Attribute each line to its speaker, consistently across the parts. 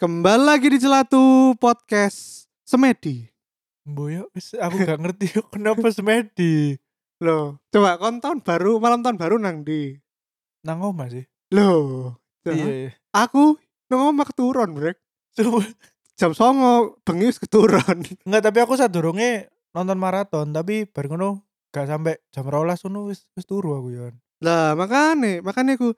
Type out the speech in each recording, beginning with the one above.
Speaker 1: Kembali lagi di Celatu Podcast Semedi.
Speaker 2: Boyo, aku gak ngerti yuk, kenapa semedi.
Speaker 1: Loh, coba kon tahun baru, malam tahun baru nang di.
Speaker 2: Nang oma sih.
Speaker 1: Loh, coba.
Speaker 2: Iya, iya.
Speaker 1: aku nang omah keturun, Brek.
Speaker 2: Sumpah.
Speaker 1: Jam 09.00 bengi wis keturun.
Speaker 2: Enggak, tapi aku sadurunge nonton maraton, tapi bar ngono gak sampai jam 12 ngono wis wis turu aku ya.
Speaker 1: Lah, makane, makane aku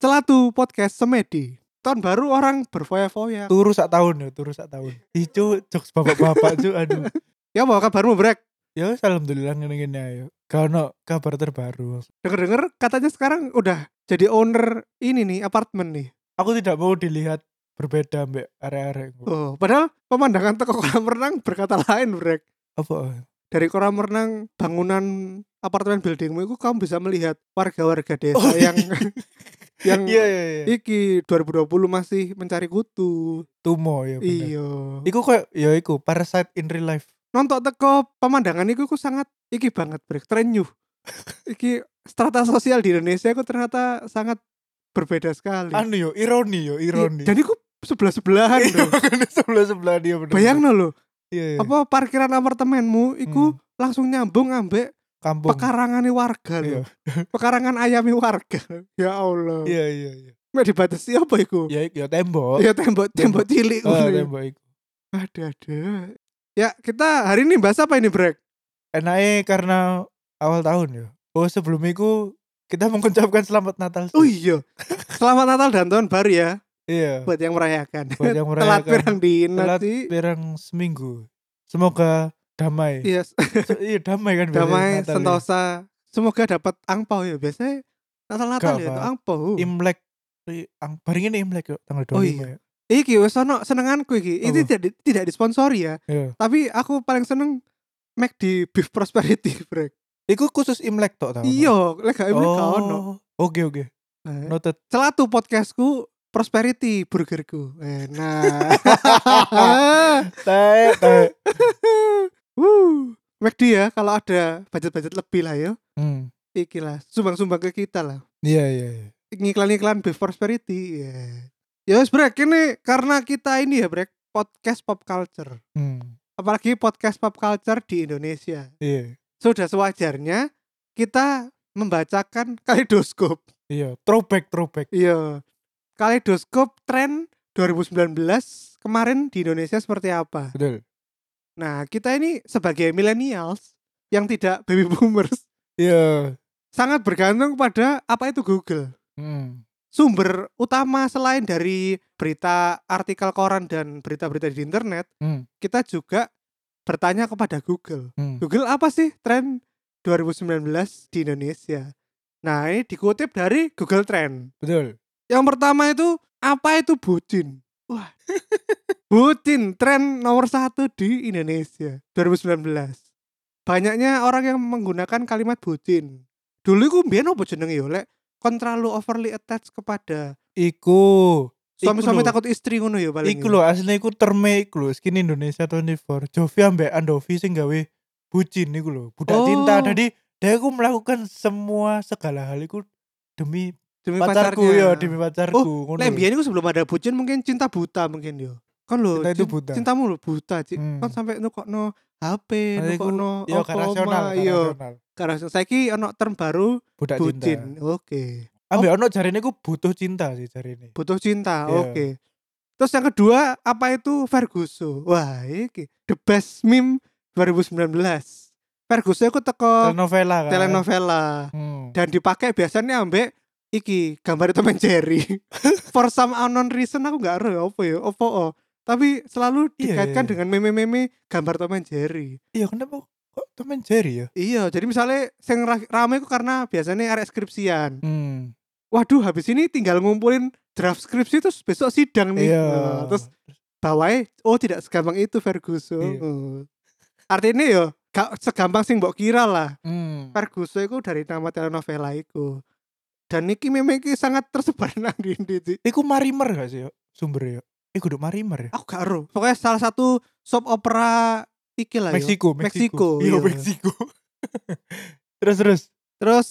Speaker 1: Celatu Podcast Semedi. Tahun baru orang berfoya-foya.
Speaker 2: Turu sak tahun ya, turu sak tahun. Icu jokes bapak-bapak cu aduh.
Speaker 1: Ya apa kabarmu, Brek?
Speaker 2: Ya wis alhamdulillah ngene-ngene ayo. Gak ono kabar terbaru.
Speaker 1: Denger-denger katanya sekarang udah jadi owner ini nih apartemen nih.
Speaker 2: Aku tidak mau dilihat berbeda mbak arek-arek.
Speaker 1: Oh, padahal pemandangan teko kolam renang berkata lain, Brek.
Speaker 2: Apa?
Speaker 1: dari kolam renang bangunan apartemen buildingmu itu kamu bisa melihat warga-warga desa
Speaker 2: Oh, iya.
Speaker 1: yang yang
Speaker 2: Iya, iya, iya.
Speaker 1: iki 2020 masih mencari kutu.
Speaker 2: Tumo ya bener.
Speaker 1: Iya.
Speaker 2: Iku kayak ya iku parasite in real life.
Speaker 1: Nonton teko pemandangan iku ku sangat iki banget break tren new. iki strata sosial di Indonesia ku ternyata sangat berbeda sekali.
Speaker 2: Anu yo, ironi yo,
Speaker 1: Iya,
Speaker 2: ironi.
Speaker 1: Dan iku sebelah-sebelahan lho.
Speaker 2: sebelah sebelah dia bener.
Speaker 1: Bayangno lho,
Speaker 2: Iya, iya.
Speaker 1: apa parkiran apartemenmu iku
Speaker 2: Hmm.
Speaker 1: langsung nyambung ambek
Speaker 2: kampung.
Speaker 1: pekarangane warga lho.
Speaker 2: Iya.
Speaker 1: pekarangan ayami warga ya Allah
Speaker 2: Iya, iya, iya.
Speaker 1: Mek dibatasi apa iku
Speaker 2: Ya, ya tembok.
Speaker 1: ya tembok tembok cilik
Speaker 2: Oh,
Speaker 1: ngono.
Speaker 2: tembok iku.
Speaker 1: ada ada ya kita hari ini bahas apa ini Brek
Speaker 2: Enaknya Eh, karena awal tahun ya. Oh, sebelum itu kita mengucapkan selamat Natal. sih.
Speaker 1: oh iya selamat Natal dan tahun baru ya
Speaker 2: Iya.
Speaker 1: buat yang merayakan
Speaker 2: Buat yang
Speaker 1: telat
Speaker 2: merayakan
Speaker 1: pirang dina
Speaker 2: Telat
Speaker 1: sih
Speaker 2: pirang seminggu. Semoga damai.
Speaker 1: iya
Speaker 2: So- iya, damai kan biasanya
Speaker 1: damai
Speaker 2: Natal ya.
Speaker 1: sentosa semoga dapat angpau ya biasanya Natal Natal
Speaker 2: Gak
Speaker 1: ya itu
Speaker 2: apa.
Speaker 1: angpau
Speaker 2: Imlek. Ri- Ang baringin nih Imlek yuk, tanggal 25
Speaker 1: Oh,
Speaker 2: ya.
Speaker 1: iki wes ono senenganku iki ini
Speaker 2: Apa?
Speaker 1: tidak di- tidak disponsori ya
Speaker 2: Iya.
Speaker 1: tapi aku paling seneng Mac di Beef Prosperity Brek
Speaker 2: Iku khusus Imlek tok tau.
Speaker 1: iya lek gak Imlek gak ono
Speaker 2: Oh. Oke, oke.
Speaker 1: Nah,
Speaker 2: Noted.
Speaker 1: celatu podcastku prosperity burgerku Eh, nah. enak
Speaker 2: Tae, tae.
Speaker 1: Wuh, McD ya kalau ada budget-budget lebih lah ya
Speaker 2: Hmm.
Speaker 1: iki lah sumbang-sumbang ke kita lah
Speaker 2: Iya, iya, iya.
Speaker 1: ngiklan-ngiklan beef prosperity ya ya wes, brek ini karena kita ini ya brek podcast pop culture
Speaker 2: Hmm.
Speaker 1: apalagi podcast pop culture di Indonesia
Speaker 2: Iya.
Speaker 1: sudah sewajarnya kita membacakan kaleidoskop
Speaker 2: Iya, throwback throwback.
Speaker 1: Iya. Kaleidoskop tren 2019 kemarin di Indonesia seperti apa?
Speaker 2: Betul.
Speaker 1: Nah, kita ini sebagai millennials yang tidak baby boomers
Speaker 2: Iya.
Speaker 1: sangat bergantung pada apa itu Google.
Speaker 2: Hmm.
Speaker 1: Sumber utama selain dari berita, artikel koran dan berita-berita di internet,
Speaker 2: Hmm.
Speaker 1: kita juga bertanya kepada Google.
Speaker 2: Hmm.
Speaker 1: Google apa sih tren 2019 di Indonesia? Nah, ini dikutip dari Google Trend.
Speaker 2: Betul.
Speaker 1: Yang pertama itu apa itu bucin? Wah, bucin tren nomor satu di Indonesia 2019. Banyaknya orang yang menggunakan kalimat bucin. Dulu iku mbiyen apa jenenge ya lek kon terlalu overly attached kepada
Speaker 2: Iku.
Speaker 1: suami-suami
Speaker 2: lho.
Speaker 1: takut istri ngono ya paling.
Speaker 2: Iku lho asline iku terme iku lho skin Indonesia 24. Jovi ambek Andovi sing gawe bucin iku lho, budak
Speaker 1: Oh.
Speaker 2: cinta. Jadi dia iku melakukan semua segala hal iku demi
Speaker 1: demi
Speaker 2: pacarku
Speaker 1: pacarnya. Oh,
Speaker 2: ya, demi pacarku. ngono
Speaker 1: Lek
Speaker 2: lho.
Speaker 1: mbiyen iku sebelum ada bucin mungkin cinta buta mungkin yo. Kon lho
Speaker 2: Cinta itu
Speaker 1: cin-
Speaker 2: buta.
Speaker 1: Cintamu lho buta, Cik.
Speaker 2: Hmm.
Speaker 1: Kon sampai nukokno HP,
Speaker 2: Nah, iku-
Speaker 1: nukokno
Speaker 2: Iya,
Speaker 1: kan apa,
Speaker 2: gak rasional,
Speaker 1: ma,
Speaker 2: gak
Speaker 1: Iya,
Speaker 2: rasional.
Speaker 1: gak rasional. Saiki ono term baru
Speaker 2: Budak cinta.
Speaker 1: Bucin, Oh. oke.
Speaker 2: Ambek ono jarine iku butuh cinta sih jarine.
Speaker 1: Butuh cinta,
Speaker 2: Iya.
Speaker 1: oke. Terus yang kedua, apa itu Verguso? Wah, iki the best meme 2019. Verguso itu teko
Speaker 2: Telenovela kan.
Speaker 1: Oh. telenovela
Speaker 2: Hmm.
Speaker 1: dan dipakai biasanya ambek iki gambar Tom and Jerry. For some unknown reason aku nggak ngerti apa ya, apa oh. Tapi selalu
Speaker 2: Iya,
Speaker 1: dikaitkan
Speaker 2: iya.
Speaker 1: dengan meme-meme gambar Tom and Jerry.
Speaker 2: Iya, kenapa kok temen Jerry ya?
Speaker 1: Iya, jadi misalnya sing ra- rame itu karena biasanya arek skripsian.
Speaker 2: Hmm.
Speaker 1: waduh habis ini tinggal ngumpulin draft skripsi terus besok sidang nih
Speaker 2: Iya.
Speaker 1: Nah, terus bawahnya oh tidak segampang itu Ferguson
Speaker 2: Iya.
Speaker 1: Hmm. artinya yo gak segampang sing mbok kira lah.
Speaker 2: Hmm.
Speaker 1: Perguso iku dari nama telenovela iku. Dan niki meme iki sangat tersebar nang ndi sih.
Speaker 2: Iku Marimer gak sih yuk? Sumber yuk? Iku kudu Marimer ya?
Speaker 1: Aku gak ero. Pokoknya salah satu soap opera iki lah ya. yo.
Speaker 2: Meksiko,
Speaker 1: Meksiko,
Speaker 2: Ah, iya. Meksiko. Iya,
Speaker 1: iya.
Speaker 2: Meksiko. terus terus.
Speaker 1: Terus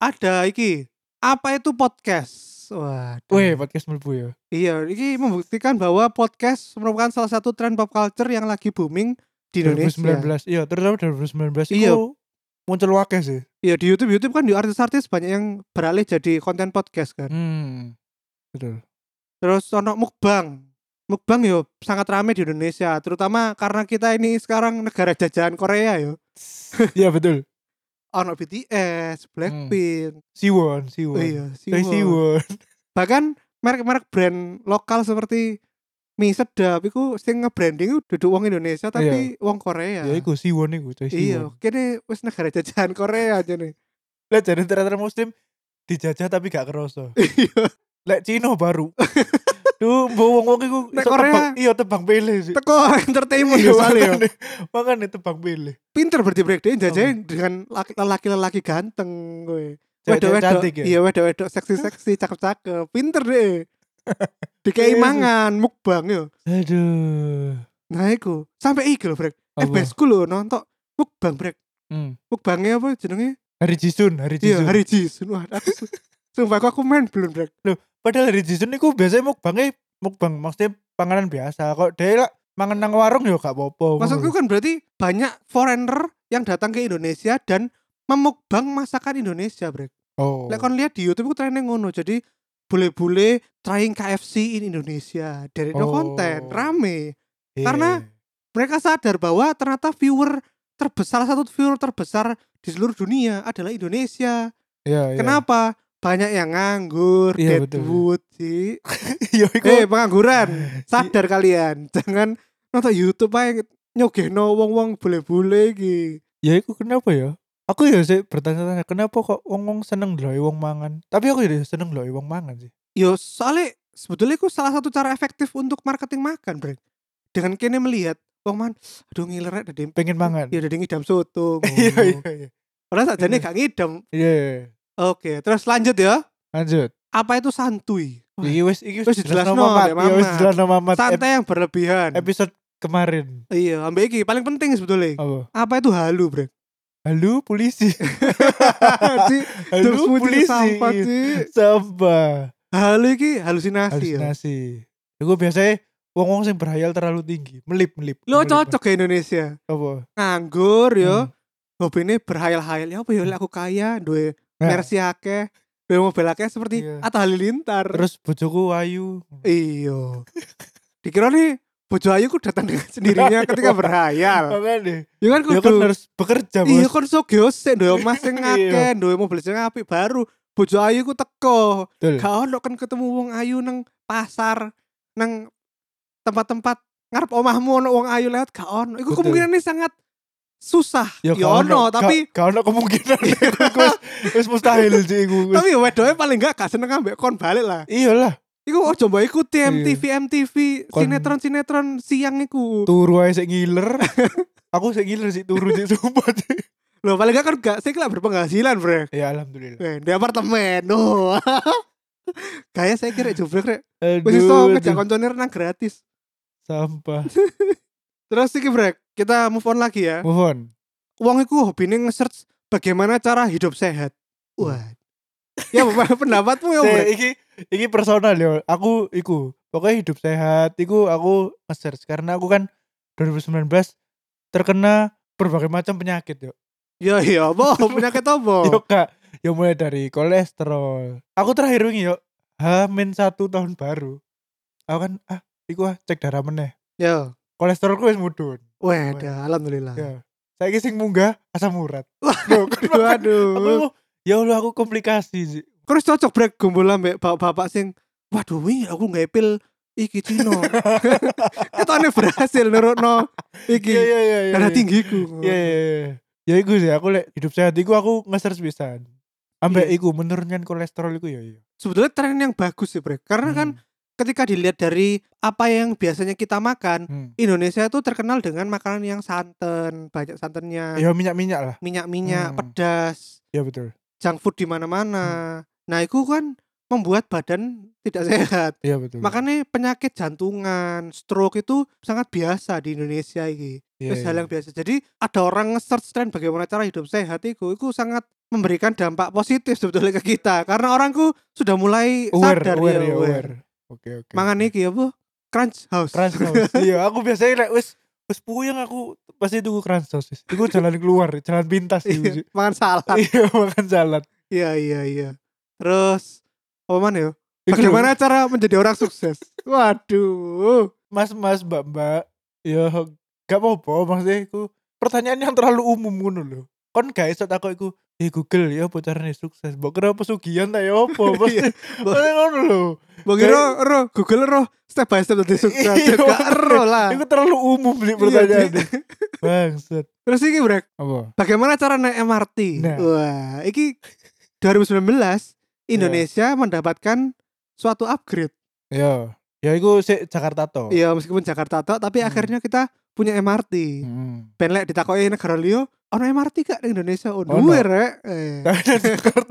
Speaker 1: ada iki. Apa itu podcast? Waduh.
Speaker 2: Weh, podcast mlebu ya.
Speaker 1: Iya, ini membuktikan bahwa podcast merupakan salah satu tren pop culture yang lagi booming di Indonesia.
Speaker 2: 2019. Iya, terutama 2019
Speaker 1: Iya.
Speaker 2: iku muncul wakil sih.
Speaker 1: Iya, di YouTube YouTube kan di artis-artis banyak yang beralih jadi konten podcast kan.
Speaker 2: Hmm. Betul.
Speaker 1: Terus ono mukbang. Mukbang yo sangat rame di Indonesia, terutama karena kita ini sekarang negara jajahan Korea yo.
Speaker 2: Iya, betul.
Speaker 1: Ono BTS, Blackpink,
Speaker 2: Siwon, Hmm. Siwon.
Speaker 1: oh iya, Siwon.
Speaker 2: Eh, Siwon.
Speaker 1: Bahkan merek-merek brand lokal seperti mie sedap itu sing nge-branding duduk wong Indonesia tapi wong Korea.
Speaker 2: Ya iku Siwon iku, coy,
Speaker 1: Iya,
Speaker 2: Siwon.
Speaker 1: kene wis negara jajahan Korea aja nih.
Speaker 2: Lah jadi teater muslim dijajah tapi gak kerasa.
Speaker 1: Iya.
Speaker 2: Lek Cina baru. Duh, mbok wong-wong iku
Speaker 1: Lek
Speaker 2: iso
Speaker 1: Korea.
Speaker 2: tebang- Iya, tebang pilih sih.
Speaker 1: Teko entertainment
Speaker 2: Iya,
Speaker 1: yo soalnya yo.
Speaker 2: makanya- Makanya tebang pilih.
Speaker 1: Pinter berarti breakdown
Speaker 2: Oh.
Speaker 1: jajahin dengan laki- lelaki-lelaki ganteng gue. wedok
Speaker 2: Cewek-cewek
Speaker 1: wedok
Speaker 2: cantik ya.
Speaker 1: iya wedok wedok seksi seksi cakep cakep pinter deh dikei
Speaker 2: Yesus.
Speaker 1: mangan mukbang yo
Speaker 2: Aduh.
Speaker 1: nah iku sampai iki lho brek eh
Speaker 2: Apa?
Speaker 1: besku lho nonton mukbang brek
Speaker 2: Hmm.
Speaker 1: mukbangnya apa jenenge
Speaker 2: Hari Jisun, hari
Speaker 1: iya
Speaker 2: Jisun.
Speaker 1: hari jisun wah aku su- sumpah aku, aku main belum brek
Speaker 2: Padahal hari Jisun itu biasanya mukbangnya mukbang maksudnya panganan biasa. Kok dia lah mangan nang warung ya gak apa-apa.
Speaker 1: maksudku kan berarti banyak foreigner yang datang ke Indonesia dan memukbang masakan Indonesia brek
Speaker 2: Oh.
Speaker 1: lek kon lihat di YouTube ku trennya ngono jadi bule-bule trying KFC in Indonesia dari no
Speaker 2: Oh.
Speaker 1: konten rame
Speaker 2: Iya.
Speaker 1: karena- mereka sadar bahwa ternyata viewer terbesar salah satu viewer terbesar di seluruh dunia adalah Indonesia.
Speaker 2: Iya, iya.
Speaker 1: Kenapa? Banyak yang nganggur,
Speaker 2: Iya, betul.
Speaker 1: deadwood sih.
Speaker 2: Iya,
Speaker 1: Eh,
Speaker 2: iku. Iya.
Speaker 1: pengangguran, sadar kalian. Jangan nonton YouTube aja nyogeno wong-wong bule-bule iki.
Speaker 2: Ya iku kenapa ya? Aku ya sih bertanya-tanya kenapa kok wong-wong seneng ndelok wong mangan. Tapi aku ya seneng ndelok wong mangan sih.
Speaker 1: Yo, soalnya sebetulnya itu salah satu cara efektif untuk marketing makan, Brek. Dengan kene melihat wong man, aduh ngiler ada yang
Speaker 2: Pengen mangan.
Speaker 1: ya ada ngidam soto.
Speaker 2: Iya,
Speaker 1: ngono.
Speaker 2: iya, iya.
Speaker 1: Padahal sakjane gak ngidam.
Speaker 2: Iya, iya.
Speaker 1: Oke, terus lanjut ya.
Speaker 2: Lanjut.
Speaker 1: Apa itu santuy? Wah, iya,
Speaker 2: Iki wis iki
Speaker 1: Wis
Speaker 2: wis
Speaker 1: dijelasno,
Speaker 2: Mamat.
Speaker 1: Dek
Speaker 2: Iya, wis
Speaker 1: Mamat.
Speaker 2: jelasno Mamat. Ep-
Speaker 1: santai yang berlebihan.
Speaker 2: Episode kemarin.
Speaker 1: iya, ambil iki paling penting sebetulnya.
Speaker 2: Apa?
Speaker 1: Apa itu halu, Bro?
Speaker 2: Halo polisi.
Speaker 1: Ci, terus
Speaker 2: Halo
Speaker 1: muncul
Speaker 2: polisi.
Speaker 1: sampah, Ci.
Speaker 2: Sampah.
Speaker 1: Halu iki halusinasi ya.
Speaker 2: Halusinasi. Iku biasanya wong-wong sing berhayal terlalu tinggi, melip-melip.
Speaker 1: Lo cocok Iya, ke Indonesia.
Speaker 2: apa?
Speaker 1: Nganggur yo,
Speaker 2: Hmm.
Speaker 1: hobine berhayal-hayal, ya apa yo lek aku kaya, duwe
Speaker 2: Nah,
Speaker 1: Mercy akeh, duwe mobil akeh seperti
Speaker 2: Iya.
Speaker 1: Atta Halilintar.
Speaker 2: terus bojoku ayu.
Speaker 1: Iya. Dikira nih Bojo Ayu ku datang dengan sendirinya ketika berhayal.
Speaker 2: Makanya
Speaker 1: Ya kan
Speaker 2: ya kan
Speaker 1: kudu
Speaker 2: harus bekerja, Bos. Iya.
Speaker 1: Iya kon sogyo sik duwe omah sing akeh, duwe mobil sing apik baru bojo ayu ku teko.
Speaker 2: Betul.
Speaker 1: Gak ono kan ketemu wong ayu nang pasar, nang tempat-tempat ngarep omahmu ono wong ayu lewat gak ono. Iku
Speaker 2: Betul.
Speaker 1: kemungkinannya sangat susah. Ya,
Speaker 2: gak
Speaker 1: ono,
Speaker 2: gak-
Speaker 1: tapi
Speaker 2: gak ono kemungkinan. Iku wis wis mustahil sih iku. Wis-
Speaker 1: tapi ya wedoke paling gak gak seneng ambek kon balik lah.
Speaker 2: Iyalah,
Speaker 1: Iku ojo mbok ikuti
Speaker 2: Iya.
Speaker 1: MTV MTV
Speaker 2: Kon-
Speaker 1: sinetron-sinetron siang iku.
Speaker 2: turu ae sik ngiler. Aku sik ngiler sih turu sik sumpah. sih.
Speaker 1: Loh paling gak kan gak sik lah berpenghasilan, Bre.
Speaker 2: Ya alhamdulillah.
Speaker 1: Eh, Di apartemen. Oh. Kayak saya kira jubrek rek.
Speaker 2: Aduh.
Speaker 1: Wis iso ngejak
Speaker 2: aduh.
Speaker 1: koncone renang gratis.
Speaker 2: Sampah.
Speaker 1: Terus iki brek, kita move on lagi ya.
Speaker 2: Move on.
Speaker 1: Wong iku hobine nge-search bagaimana cara hidup sehat. Wah. ya apa pendapatmu ya,
Speaker 2: Se,
Speaker 1: Brek?
Speaker 2: iki iki personal ya. Aku iku pokoknya hidup sehat. Iku aku nge-search karena aku kan 2019 terkena berbagai macam penyakit yo.
Speaker 1: Ya ya apa penyakit
Speaker 2: Yo
Speaker 1: apa?
Speaker 2: kak, yo mulai dari kolesterol. Aku terakhir wingi yo Hamin satu tahun baru. Aku kan ah iku ah cek darah meneh.
Speaker 1: Ya.
Speaker 2: Kolesterolku wis mudun.
Speaker 1: Wah, dah, alhamdulillah.
Speaker 2: Ya. Saya sing munggah asam urat.
Speaker 1: Waduh, aduh.
Speaker 2: Aku ya Allah aku komplikasi sih.
Speaker 1: Terus cocok brek gumpul ambek bapak-bapak sing waduh wingi aku nggak pil iki Cino. Ketone berhasil nurutno
Speaker 2: Iya
Speaker 1: iki
Speaker 2: iya iya. iya,
Speaker 1: darah
Speaker 2: iya.
Speaker 1: tinggiku.
Speaker 2: Iya iya iya. Ya iku sih aku lek hidup sehat iku aku nge-search pisan. Ambek
Speaker 1: Iya.
Speaker 2: iku menurunkan kolesterol iku ya iya. Hmm.
Speaker 1: Sebetulnya tren yang bagus sih, Brek. Karena kan ketika dilihat dari apa yang biasanya kita makan,
Speaker 2: Hmm.
Speaker 1: Indonesia itu terkenal dengan makanan yang santan, banyak santannya,
Speaker 2: Ya minyak-minyak lah.
Speaker 1: minyak-minyak,
Speaker 2: Hmm.
Speaker 1: pedas,
Speaker 2: Ya betul.
Speaker 1: junk food di
Speaker 2: Hmm.
Speaker 1: mana-mana. Nah, itu kan membuat badan tidak sehat.
Speaker 2: Ya betul.
Speaker 1: Makanya penyakit jantungan, stroke itu sangat biasa di Indonesia ini.
Speaker 2: ya,
Speaker 1: Terus
Speaker 2: ya.
Speaker 1: hal yang biasa. Jadi ada orang nge-search tren bagaimana cara hidup sehat itu, itu sangat memberikan dampak positif sebetulnya ke kita karena orangku sudah mulai
Speaker 2: aware,
Speaker 1: sadar iya,
Speaker 2: aware,
Speaker 1: aware.
Speaker 2: ya, aware. Oke, oke.
Speaker 1: Mangan iki apa? Crunch House.
Speaker 2: Crunch sauce. Iya, aku biasanya lek wis wis puyeng aku pasti tunggu crunch sauce. Iku jalan keluar, jalan pintas
Speaker 1: Iya,
Speaker 2: iku.
Speaker 1: Mangan salad.
Speaker 2: Iya, makan salad.
Speaker 1: Iya iya iya. Terus apa man ya?
Speaker 2: Iku
Speaker 1: Bagaimana cara menjadi orang sukses? Waduh.
Speaker 2: Mas Mas Mbak Mbak ya gak apa-apa maksudnya iku pertanyaan yang terlalu umum ngono lho kon gak iso takok iku di Google ya apa carane sukses mbok kira apa sugihan ta ya apa
Speaker 1: Iya.
Speaker 2: maksudnya maksudnya ngono lho
Speaker 1: Bagi ro, ro, Google ro, step by step dari sukses.
Speaker 2: Iya,
Speaker 1: Gak ero lah.
Speaker 2: iku terlalu umum beli
Speaker 1: Ah. Iya,
Speaker 2: pertanyaan
Speaker 1: Ji.
Speaker 2: bangsat
Speaker 1: Terus iki brek,
Speaker 2: apa
Speaker 1: bagaimana cara naik MRT?
Speaker 2: Nah.
Speaker 1: Wah, iki 2019 Indonesia
Speaker 2: Nah.
Speaker 1: mendapatkan suatu upgrade.
Speaker 2: ya ya iku sik Jakarta to
Speaker 1: Iya, meskipun Jakarta tok, tapi
Speaker 2: Oh. Hmm.
Speaker 1: akhirnya kita punya MRT.
Speaker 2: Hmm.
Speaker 1: Ben lek ditakoki negara liyo, ono MRT gak ning Indonesia? Oh,
Speaker 2: Ono.
Speaker 1: duwe rek.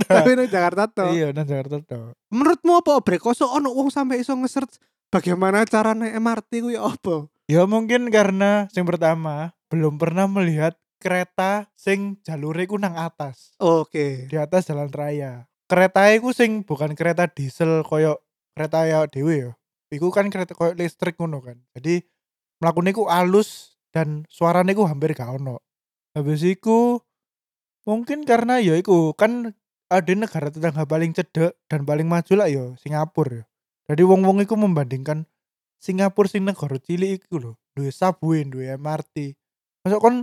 Speaker 1: Eh,
Speaker 2: Tapi
Speaker 1: tapi ning
Speaker 2: nang Jakarta
Speaker 1: Jakarta tok.
Speaker 2: iya nang Jakarta to
Speaker 1: menurutmu apa obrek koso ono wong sampai iso nge-search bagaimana cara naik MRT kuwi apa?
Speaker 2: ya mungkin karena yang pertama belum pernah melihat kereta sing jalure iku nang atas
Speaker 1: Oke.
Speaker 2: di atas jalan raya. Kereta iku sing bukan kereta diesel koyo kereta ya dhewe ya. Iku kan kereta koyo listrik ngono kan. Jadi mlakune iku alus dan suarane iku hampir gak ono. Habis iku mungkin karena ya iku kan ada negara tetangga paling cedek dan paling maju lah ya Singapura ya. Jadi wong-wong iku membandingkan Singapura sing negara cilik iku lho, duwe subway, duwe MRT. Masuk kon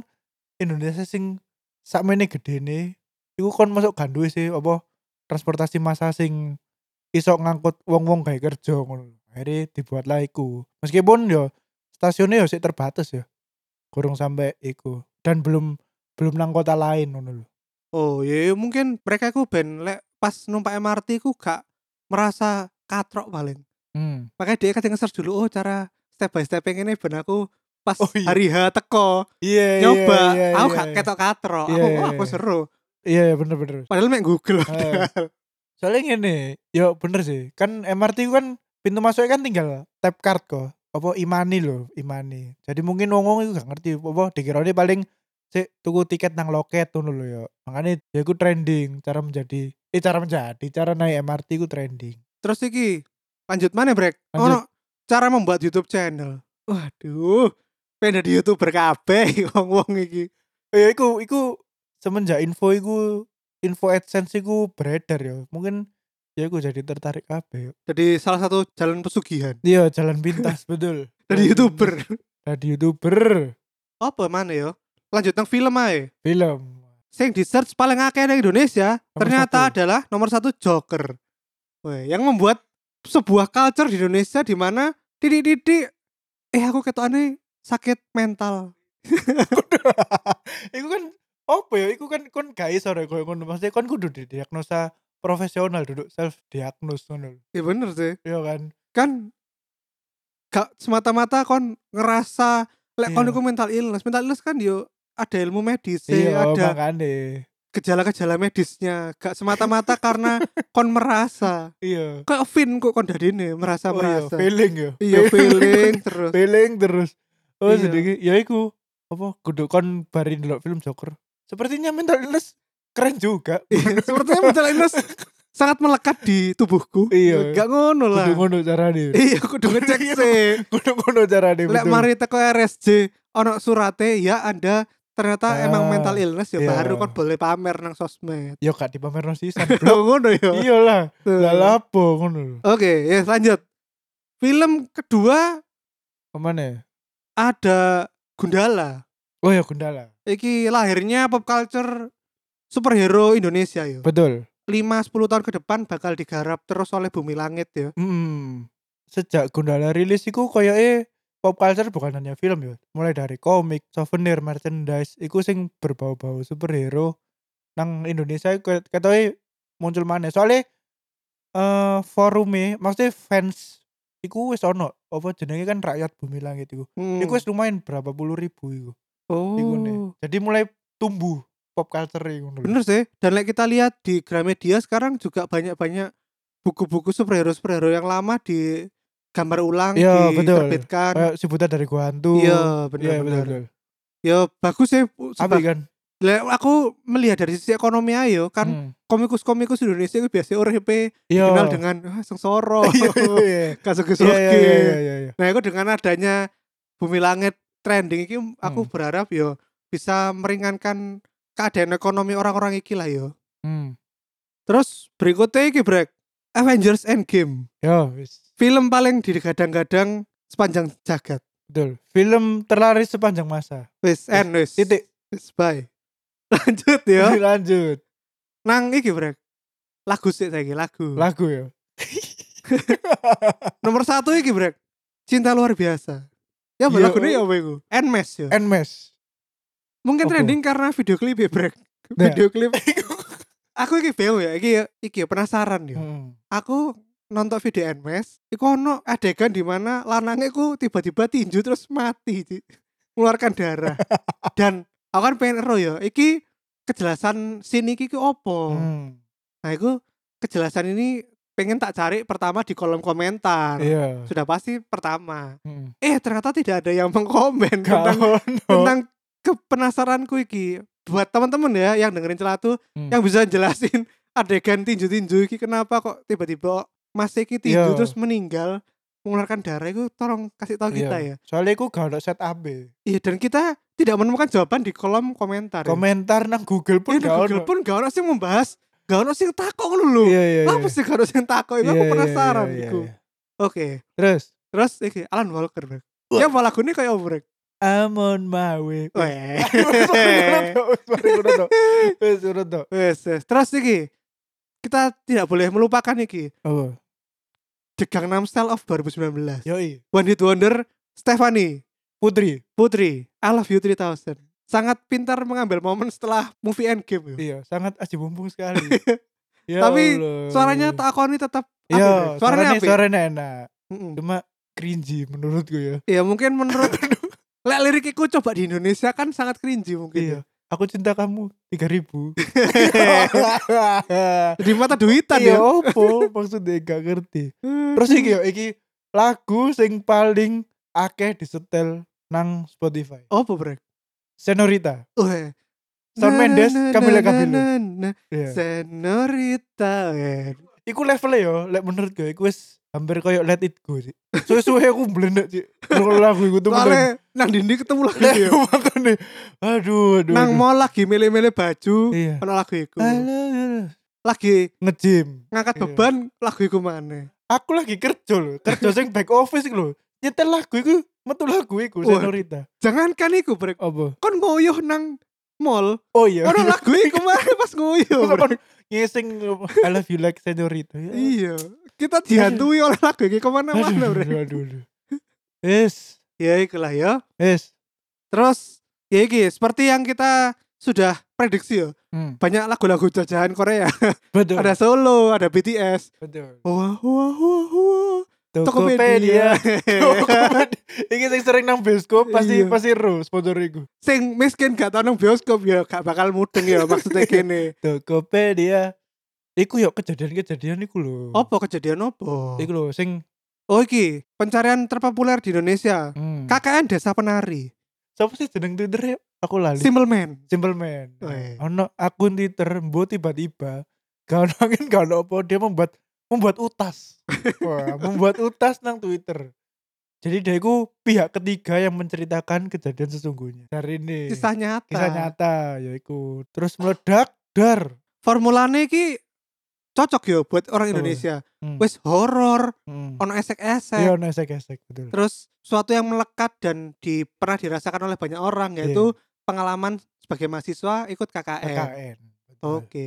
Speaker 2: Indonesia sing sakmene gedene iku kon masuk gandwe sih apa transportasi massa sing iso ngangkut wong-wong gawe kerja ngono. Akhirnya dibuatlah iku. Meskipun yo stasiunnya yo sik terbatas ya. Kurung sampai iku dan belum belum nang kota lain ngono lho.
Speaker 1: Oh, ya ya mungkin mereka ku ben lek pas numpak MRT ku gak merasa katrok paling.
Speaker 2: Hmm.
Speaker 1: Makanya dia kadang nge-search dulu oh cara step by step yang ini ben aku pas
Speaker 2: Oh, iya.
Speaker 1: hari H teko
Speaker 2: Iya,
Speaker 1: nyoba
Speaker 2: iya,
Speaker 1: aku
Speaker 2: iya,
Speaker 1: gak
Speaker 2: iya.
Speaker 1: ketok katrok.
Speaker 2: Iya,
Speaker 1: aku
Speaker 2: iya,
Speaker 1: wah aku
Speaker 2: iya.
Speaker 1: seru.
Speaker 2: Iya, iya bener bener.
Speaker 1: Padahal mek Google.
Speaker 2: Eh, soalnya gini, yo bener sih. Kan MRT ku kan pintu masuknya kan tinggal tap card kok. Apa imani loh, imani. Jadi mungkin wong-wong itu gak ngerti apa dikirane paling sik tuku tiket nang loket ngono lho yo. Makanya ya iku trending cara menjadi eh cara menjadi cara naik MRT ku trending.
Speaker 1: Terus iki lanjut mana brek?
Speaker 2: Lanjut.
Speaker 1: Ono cara membuat YouTube channel. Waduh, pengen di YouTuber kabeh wong-wong iki.
Speaker 2: Eh, Ya iku iku semenjak info iku info AdSense iku beredar ya. Mungkin ya iku jadi tertarik kabeh yo.
Speaker 1: Jadi salah satu jalan pesugihan
Speaker 2: Iya, jalan pintas betul.
Speaker 1: dari youtuber.
Speaker 2: Jadi YouTuber.
Speaker 1: Apa mana ya? Lanjut nang film ae.
Speaker 2: Film.
Speaker 1: Sing di search paling akeh nang Indonesia
Speaker 2: Nomor
Speaker 1: ternyata
Speaker 2: satu.
Speaker 1: adalah nomor satu Joker. Weh, yang membuat sebuah culture di Indonesia di mana titik-titik eh aku ketokane sakit mental.
Speaker 2: iku kan apa ya iku kan kon gak iso rek koyo ngono maksudnya kon kudu didiagnosa profesional duduk self diagnose ngono lho.
Speaker 1: Ya bener sih.
Speaker 2: iya kan
Speaker 1: Kan gak semata-mata kon ngerasa lek kon
Speaker 2: Iya.
Speaker 1: iku mental illness. Mental illness kan yo ada ilmu medis,
Speaker 2: iya
Speaker 1: ada
Speaker 2: makane
Speaker 1: gejala-gejala medisnya gak semata-mata karena kon merasa
Speaker 2: iya
Speaker 1: kayak Vin kok kon dadine merasa
Speaker 2: Oh iya,
Speaker 1: merasa
Speaker 2: feeling ya
Speaker 1: iya feeling terus
Speaker 2: feeling terus oh
Speaker 1: Iya.
Speaker 2: sedikit ya iku apa kudu kon bari ndelok film Joker sepertinya mental illness keren juga
Speaker 1: Iya, sepertinya mental illness sangat melekat di tubuhku
Speaker 2: Iya.
Speaker 1: gak ngono lah
Speaker 2: kudu ngono carane
Speaker 1: iya kudu ngecek
Speaker 2: Iya,
Speaker 1: sih
Speaker 2: kudu ngono carane
Speaker 1: lek
Speaker 2: betul.
Speaker 1: mari teko RSJ ono surate ya anda ternyata
Speaker 2: Ah,
Speaker 1: emang mental illness ya
Speaker 2: iya.
Speaker 1: baru kon boleh pamer nang sosmed
Speaker 2: yo Ya gak dipamerno sisan
Speaker 1: Loh,
Speaker 2: blok
Speaker 1: ngono ya
Speaker 2: iyalah
Speaker 1: Tuh.
Speaker 2: lah lapo ngono lho
Speaker 1: oke ya lanjut film kedua
Speaker 2: kemana
Speaker 1: ada Gundala
Speaker 2: oh ya Gundala
Speaker 1: iki lahirnya pop culture superhero Indonesia yo.
Speaker 2: betul
Speaker 1: 5 10 tahun ke depan bakal digarap terus oleh Bumi Langit ya.
Speaker 2: Hmm. Sejak Gundala rilis iku koyoke pop culture bukan hanya film ya. Mulai dari komik, souvenir, merchandise iku sing berbau-bau superhero nang Indonesia iku ket- ketoke muncul maneh. Soale eh forume maksudnya fans iku wis ono apa jenenge kan rakyat bumi langit iku.
Speaker 1: Hmm.
Speaker 2: Iku wis lumayan berapa puluh ribu iku. Iku nih.
Speaker 1: oh.
Speaker 2: Jadi mulai tumbuh pop culture iku ngono lho.
Speaker 1: Bener sih. Dan like kita lihat di Gramedia sekarang juga banyak-banyak buku-buku superhero-superhero yang lama di gambar ulang
Speaker 2: Iya, betul.
Speaker 1: diterbitkan.
Speaker 2: Kayak si buta dari gua hantu.
Speaker 1: Iya,
Speaker 2: Iya, betul.
Speaker 1: benar-benar.
Speaker 2: betul.
Speaker 1: Ya bagus sih. Bu,
Speaker 2: Apik
Speaker 1: sebab-
Speaker 2: kan?
Speaker 1: Lah, aku melihat dari sisi ekonomi ayo kan
Speaker 2: Hmm.
Speaker 1: komikus-komikus Indonesia itu biasanya URP
Speaker 2: Iya.
Speaker 1: dikenal dengan ah, sengsoro,
Speaker 2: Iya, iya,
Speaker 1: kasugi-sugi.
Speaker 2: iya, iya, iya, iya, iya.
Speaker 1: Nah, aku dengan adanya Bumi Langit trending ini aku
Speaker 2: Hmm.
Speaker 1: berharap yo bisa meringankan keadaan ekonomi orang-orang iki lah yo.
Speaker 2: Hmm.
Speaker 1: Terus berikutnya iki brek Avengers Endgame
Speaker 2: Yo, Ya, wis.
Speaker 1: film paling digadang-gadang sepanjang jagat
Speaker 2: Betul. Film terlaris sepanjang masa.
Speaker 1: wis end wis
Speaker 2: Titik.
Speaker 1: wis bye lanjut yo
Speaker 2: Lanjut.
Speaker 1: nang iki brek lagu sih saiki lagu
Speaker 2: Lagu ya.
Speaker 1: nomor satu iki brek cinta luar biasa ya
Speaker 2: Yo.
Speaker 1: lagu ini apa iku Nmes yo
Speaker 2: Nmes.
Speaker 1: mungkin
Speaker 2: Apa?
Speaker 1: trending karena video klip ya brek
Speaker 2: Nah.
Speaker 1: video klip aku iki bingung ya iki iki penasaran ya. yo
Speaker 2: Hmm.
Speaker 1: aku nonton video Nmes iku ono adegan di mana lanangnya iku tiba-tiba tinju terus mati Ci. mengeluarkan darah dan aku kan pengen ero ya iki kejelasan scene iki ki opo
Speaker 2: Hmm.
Speaker 1: nah iku kejelasan ini pengen tak cari pertama di kolom komentar
Speaker 2: Iya.
Speaker 1: sudah pasti pertama
Speaker 2: Hmm.
Speaker 1: eh ternyata tidak ada yang mengkomen tentang
Speaker 2: Kau
Speaker 1: tentang kepenasaranku iki buat teman-teman ya yang dengerin celatu
Speaker 2: Hmm.
Speaker 1: yang bisa jelasin adegan tinju-tinju iki kenapa kok tiba-tiba Mas Eki tinju
Speaker 2: Iya.
Speaker 1: terus meninggal mengeluarkan darah itu tolong kasih tahu kita ya.
Speaker 2: Iya. Soalnya aku gak ada set e. AB.
Speaker 1: Iya dan kita tidak menemukan jawaban di kolom komentar. Ya.
Speaker 2: Komentar nang Google pun
Speaker 1: Iya, di
Speaker 2: gak
Speaker 1: Google
Speaker 2: ada.
Speaker 1: pun gak ono sing membahas, gak ono sing takok ngono lho.
Speaker 2: Iya iya. iya.
Speaker 1: Apa sih gak ono sing takok? Iku
Speaker 2: Iya,
Speaker 1: aku
Speaker 2: iya,
Speaker 1: penasaran
Speaker 2: iya,
Speaker 1: iku.
Speaker 2: iya.
Speaker 1: Oke,
Speaker 2: Terus
Speaker 1: terus iki Alan Walker. Bro.
Speaker 2: Wah.
Speaker 1: Ya apa lagunya kayak apa, Bro?
Speaker 2: I'm on my way.
Speaker 1: Weh.
Speaker 2: Wes urut to.
Speaker 1: Wes, wes. Terus iki kita tidak boleh melupakan iki
Speaker 2: Apa?
Speaker 1: The Gangnam Style of 2019.
Speaker 2: Yoi.
Speaker 1: One Hit Wonder Stephanie
Speaker 2: Putri.
Speaker 1: Putri I Love You 3000 sangat pintar mengambil momen setelah movie Endgame yo.
Speaker 2: Iya, sangat aji bumbung sekali. Ya
Speaker 1: Tapi
Speaker 2: Allah.
Speaker 1: suaranya tak akoni tetap apik, Bro.
Speaker 2: Iya,
Speaker 1: suaranya
Speaker 2: suaranya
Speaker 1: apa ya?
Speaker 2: suaranya enak. Cuma cringy menurutku ya.
Speaker 1: ya mungkin menurut lek lirik iku coba di Indonesia kan sangat cringy mungkin
Speaker 2: Iya. Aku cinta kamu 3000.
Speaker 1: ya. di mata duitan ya
Speaker 2: Iya opo maksudnya gak ngerti. Terus iki yo iki lagu sing paling akeh disetel nang Spotify.
Speaker 1: apa brek
Speaker 2: Senorita.
Speaker 1: Weh.
Speaker 2: Shawn Mendes, Camila Cabello.
Speaker 1: na, na,
Speaker 2: Iya.
Speaker 1: Senorita weh.
Speaker 2: Iku levelnya yo lek menurut gue iku wis hampir koyo Let It Go sih. Suwe-suwe aku blendek sih. Ngrungokno lagu iku tuh.
Speaker 1: Soalnya nang dindi ketemu lagi
Speaker 2: Lek
Speaker 1: ya.
Speaker 2: makane. Aduh aduh.
Speaker 1: Nang
Speaker 2: aduh.
Speaker 1: mall lagi milih-milih baju
Speaker 2: Iya.
Speaker 1: Ono lagu iku
Speaker 2: Halo, halo.
Speaker 1: Lagi
Speaker 2: Nge-gym.
Speaker 1: ngangkat
Speaker 2: Iya.
Speaker 1: beban lagu iku mana
Speaker 2: Aku lagi kerja lho, kerja sing back office iku lho. Nyetel lagu iku metu lagu iku
Speaker 1: Wah.
Speaker 2: Senorita.
Speaker 1: jangankan iku brek
Speaker 2: Apa?
Speaker 1: kon nguyuh nang mall
Speaker 2: Oh iya.
Speaker 1: ono lagu iku mana pas nguyuh
Speaker 2: Terus
Speaker 1: Brek.
Speaker 2: apa? ngising I love you like senorita. Ya.
Speaker 1: iya kita dihantui oleh lagu iki kemana
Speaker 2: Aduh,
Speaker 1: mana
Speaker 2: aduh,
Speaker 1: brek
Speaker 2: aduh, aduh. Yes,
Speaker 1: ya ikulah ya
Speaker 2: yes.
Speaker 1: terus ya iki seperti yang kita sudah prediksi ya
Speaker 2: Hmm.
Speaker 1: banyak lagu-lagu jajahan Korea
Speaker 2: Betul.
Speaker 1: ada Solo ada BTS
Speaker 2: betul.
Speaker 1: Iya. wah wah wah wah
Speaker 2: Tokopedia.
Speaker 1: Tokopedia
Speaker 2: Tokopedia. Iki sing sering nang bioskop pasti
Speaker 1: Iya.
Speaker 2: pasti ro sponsor iku.
Speaker 1: sing miskin gak tau nang bioskop ya gak bakal mudeng ya maksudnya gini
Speaker 2: Tokopedia. Iku yo kejadian-kejadian iku lho.
Speaker 1: apa kejadian apa
Speaker 2: Iku lho sing
Speaker 1: Oh iki, pencarian terpopuler di Indonesia.
Speaker 2: hmm.
Speaker 1: KKN Desa Penari.
Speaker 2: Siapa sih jeneng Twitter ya? Aku lali.
Speaker 1: Simple Man.
Speaker 2: Simple Man.
Speaker 1: Weh.
Speaker 2: Ono akun Twitter mbo tiba-tiba gak ono angin gak ono apa dia membuat membuat utas. Wah, membuat utas nang Twitter. Jadi dia itu pihak ketiga yang menceritakan kejadian sesungguhnya. Dari ini
Speaker 1: Kisah nyata.
Speaker 2: kisah nyata yaiku terus meledak dar.
Speaker 1: Formulanya iki cocok ya buat orang Indonesia.
Speaker 2: Hmm.
Speaker 1: Wes horor,
Speaker 2: Hmm.
Speaker 1: ono esek-esek.
Speaker 2: Iya, ono esek-esek betul.
Speaker 1: Terus suatu yang melekat dan di, pernah dirasakan oleh banyak orang
Speaker 2: Iya.
Speaker 1: yaitu pengalaman sebagai mahasiswa ikut KKN.
Speaker 2: KKN. betul.
Speaker 1: Oke.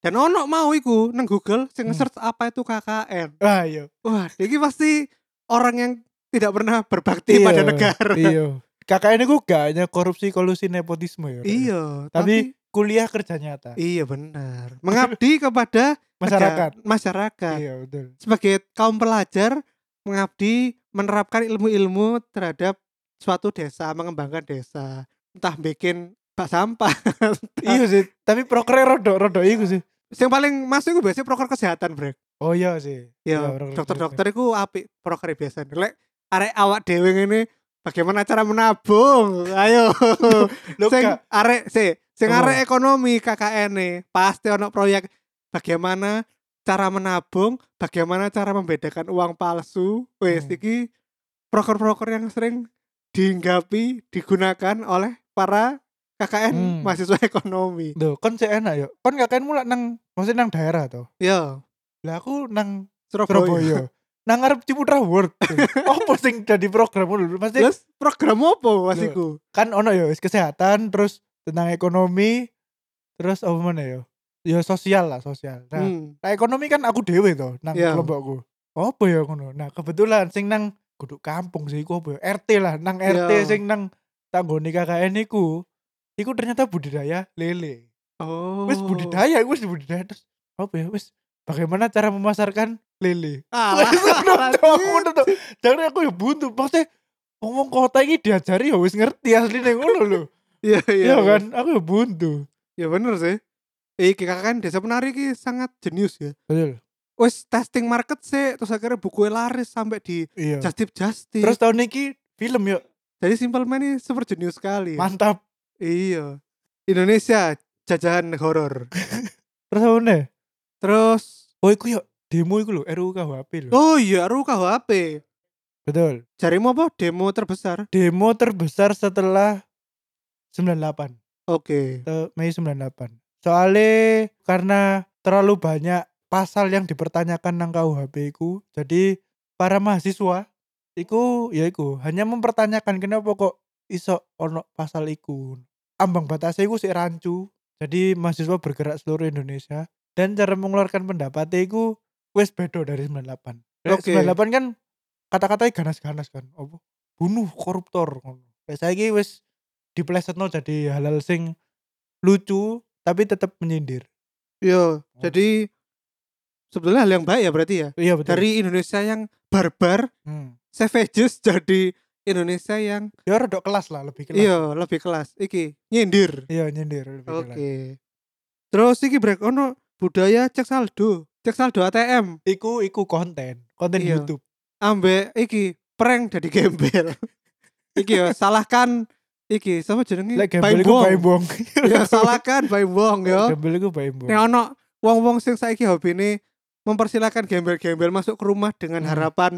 Speaker 1: Dan ono mau iku nang Google sing
Speaker 2: Hmm.
Speaker 1: search apa itu KKN.
Speaker 2: Ah, iya.
Speaker 1: Wah, iki pasti orang yang tidak pernah berbakti
Speaker 2: Iya,
Speaker 1: pada negara.
Speaker 2: Iya. KKN itu gak hanya korupsi, kolusi, nepotisme ya.
Speaker 1: Iya,
Speaker 2: Tapi- Kuliah kerja nyata.
Speaker 1: Iya benar. Mengabdi kepada
Speaker 2: Masyarakat.
Speaker 1: nega- masyarakat.
Speaker 2: Iya, betul.
Speaker 1: Sebagai kaum pelajar mengabdi menerapkan ilmu-ilmu terhadap suatu desa, mengembangkan desa. Entah bikin bak sampah.
Speaker 2: Iya sih, tapi prokernya rodok rodok iku sih.
Speaker 1: Yang paling masuk itu biasanya proker kesehatan, Brek.
Speaker 2: Oh iya sih.
Speaker 1: Ya,
Speaker 2: proker-
Speaker 1: dokter-dokter itu apik proker biasa. Lek arek awak dhewe ngene bagaimana cara menabung? Ayo.
Speaker 2: Lho,
Speaker 1: sing
Speaker 2: gak-
Speaker 1: arek sih, sing
Speaker 2: Apa?
Speaker 1: arek ekonomi KKN -e, pasti ono proyek bagaimana cara menabung, bagaimana cara membedakan uang palsu. Wes
Speaker 2: Hmm.
Speaker 1: iki proker-proker yang sering dihinggapi digunakan oleh para KKN
Speaker 2: Hmm.
Speaker 1: mahasiswa ekonomi.
Speaker 2: Lho, kon sih enak yo. Kon kakek mulak nang maksudnya nang daerah to.
Speaker 1: Yo,
Speaker 2: Lah aku nang
Speaker 1: Surabaya.
Speaker 2: Surabaya. nang ngarep Ciputra World. Apa sing dadi program lho? Pasti
Speaker 1: Terus program opo
Speaker 2: Lho.
Speaker 1: wasiku?
Speaker 2: kan ono yo wis kesehatan terus tentang ekonomi terus apa mana yo yo sosial lah sosial nah,
Speaker 1: Hmm.
Speaker 2: nah ekonomi kan aku dewe to nang
Speaker 1: Iya.
Speaker 2: kelompokku apa ya ngono nah kebetulan sing nang kudu kampung sih iku apa ya RT lah nang RT
Speaker 1: Iya.
Speaker 2: sing nang tanggone KKN iku iku ternyata budidaya lele
Speaker 1: Oh.
Speaker 2: wis budidaya iku wis budidaya terus apa ya wis bagaimana cara memasarkan lele
Speaker 1: Alah,
Speaker 2: ngono to. Jare aku ya buntu. Maksudnya ngomong kota ini diajari ya wis ngerti asline ngono lho.
Speaker 1: Iya iya.
Speaker 2: Iya kan? Aku ya buntu.
Speaker 1: Ya bener sih. Iki kakak desa penari ki sangat jenius ya.
Speaker 2: Betul.
Speaker 1: Wes testing market sih, terus akhirnya bukunya laris sampai di
Speaker 2: Iya.
Speaker 1: just tip just tip.
Speaker 2: Terus tahun ini film yuk
Speaker 1: jadi simple man ini super jenius sekali.
Speaker 2: mantap.
Speaker 1: Iya. Indonesia jajahan horor.
Speaker 2: Terus apa nih?
Speaker 1: Terus
Speaker 2: Oh iku yuk demo iku lho RUU KUHP lho.
Speaker 1: oh iya RUU KUHP.
Speaker 2: Betul.
Speaker 1: Jarimu apa? Demo terbesar.
Speaker 2: Demo terbesar setelah 98.
Speaker 1: Oke.
Speaker 2: Te- Mei 98. Soalnya karena terlalu banyak pasal yang dipertanyakan nang KUHP ku, jadi para mahasiswa iku ya iku hanya mempertanyakan kenapa kok iso ono pasal iku. Ambang batasnya iku sik rancu. Jadi mahasiswa bergerak seluruh Indonesia dan cara mengeluarkan pendapatnya iku wis bedo dari 98. Dari
Speaker 1: Oke.
Speaker 2: 98 kan kata-katanya ganas-ganas kan. Apa? Bunuh koruptor ngono. Saya iki wis diplesetno jadi halal sing lucu tapi tetap menyindir. Oh.
Speaker 1: Iya. Jadi sebetulnya hal yang baik ya berarti ya.
Speaker 2: Iya betul.
Speaker 1: Dari Indonesia yang barbar,
Speaker 2: hmm.
Speaker 1: savages jadi Indonesia yang
Speaker 2: ya rodok kelas lah lebih kelas.
Speaker 1: Iya, lebih kelas. Iki nyindir.
Speaker 2: Iya, nyindir lebih
Speaker 1: Oke.
Speaker 2: kelas.
Speaker 1: Terus iki break ono budaya cek saldo, cek saldo ATM
Speaker 2: Iku iku konten, konten
Speaker 1: Iya.
Speaker 2: YouTube.
Speaker 1: ambek iki prank jadi gembel. iki ya salahkan iki sama jenenge
Speaker 2: Lek
Speaker 1: Baim
Speaker 2: gembel iku
Speaker 1: Wong.
Speaker 2: baimbong.
Speaker 1: Ya salahkan Baim Wong ya.
Speaker 2: Gembel iku baimbong.
Speaker 1: Nek ono wong-wong sing saiki hobine mempersilahkan gembel-gembel masuk ke rumah dengan
Speaker 2: Hmm.
Speaker 1: harapan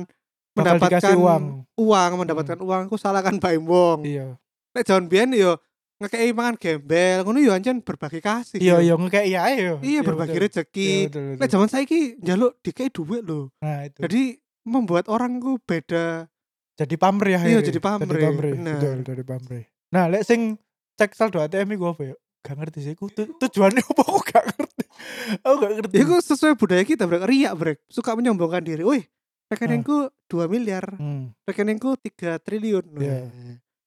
Speaker 2: Bakal
Speaker 1: mendapatkan
Speaker 2: dikasih uang. Hmm.
Speaker 1: uang, mendapatkan uang ku salahkan Baim Wong.
Speaker 2: Iya.
Speaker 1: Nek John Bian yo ngekei mangan gembel, ngono yo anjen berbagi kasih. ya.
Speaker 2: Iya, iya ngekek iya ayo.
Speaker 1: Iya berbagi
Speaker 2: betul.
Speaker 1: rezeki.
Speaker 2: Iya, betul, betul.
Speaker 1: Nah zaman saya ki jaluk dikei duit loh.
Speaker 2: Nah, itu. Jadi,
Speaker 1: Jadi membuat orang ku beda.
Speaker 2: pamer ya. akhirnya.
Speaker 1: Iya, jadi pamer,
Speaker 2: Jadi pamer.
Speaker 1: benar.
Speaker 2: Betul, jadi pamer. Nah, lek sing cek saldo ATM iku apa ya? Gak ngerti sih aku tu- tujuannya apa aku gak ngerti. Aku gak ngerti.
Speaker 1: Itu Ya sesuai budaya kita brek. Riak brek. Suka menyombongkan diri. Wih rekeningku 2
Speaker 2: Ah.
Speaker 1: miliar,
Speaker 2: Hmm.
Speaker 1: rekeningku 3 triliun. Wah.
Speaker 2: Iya.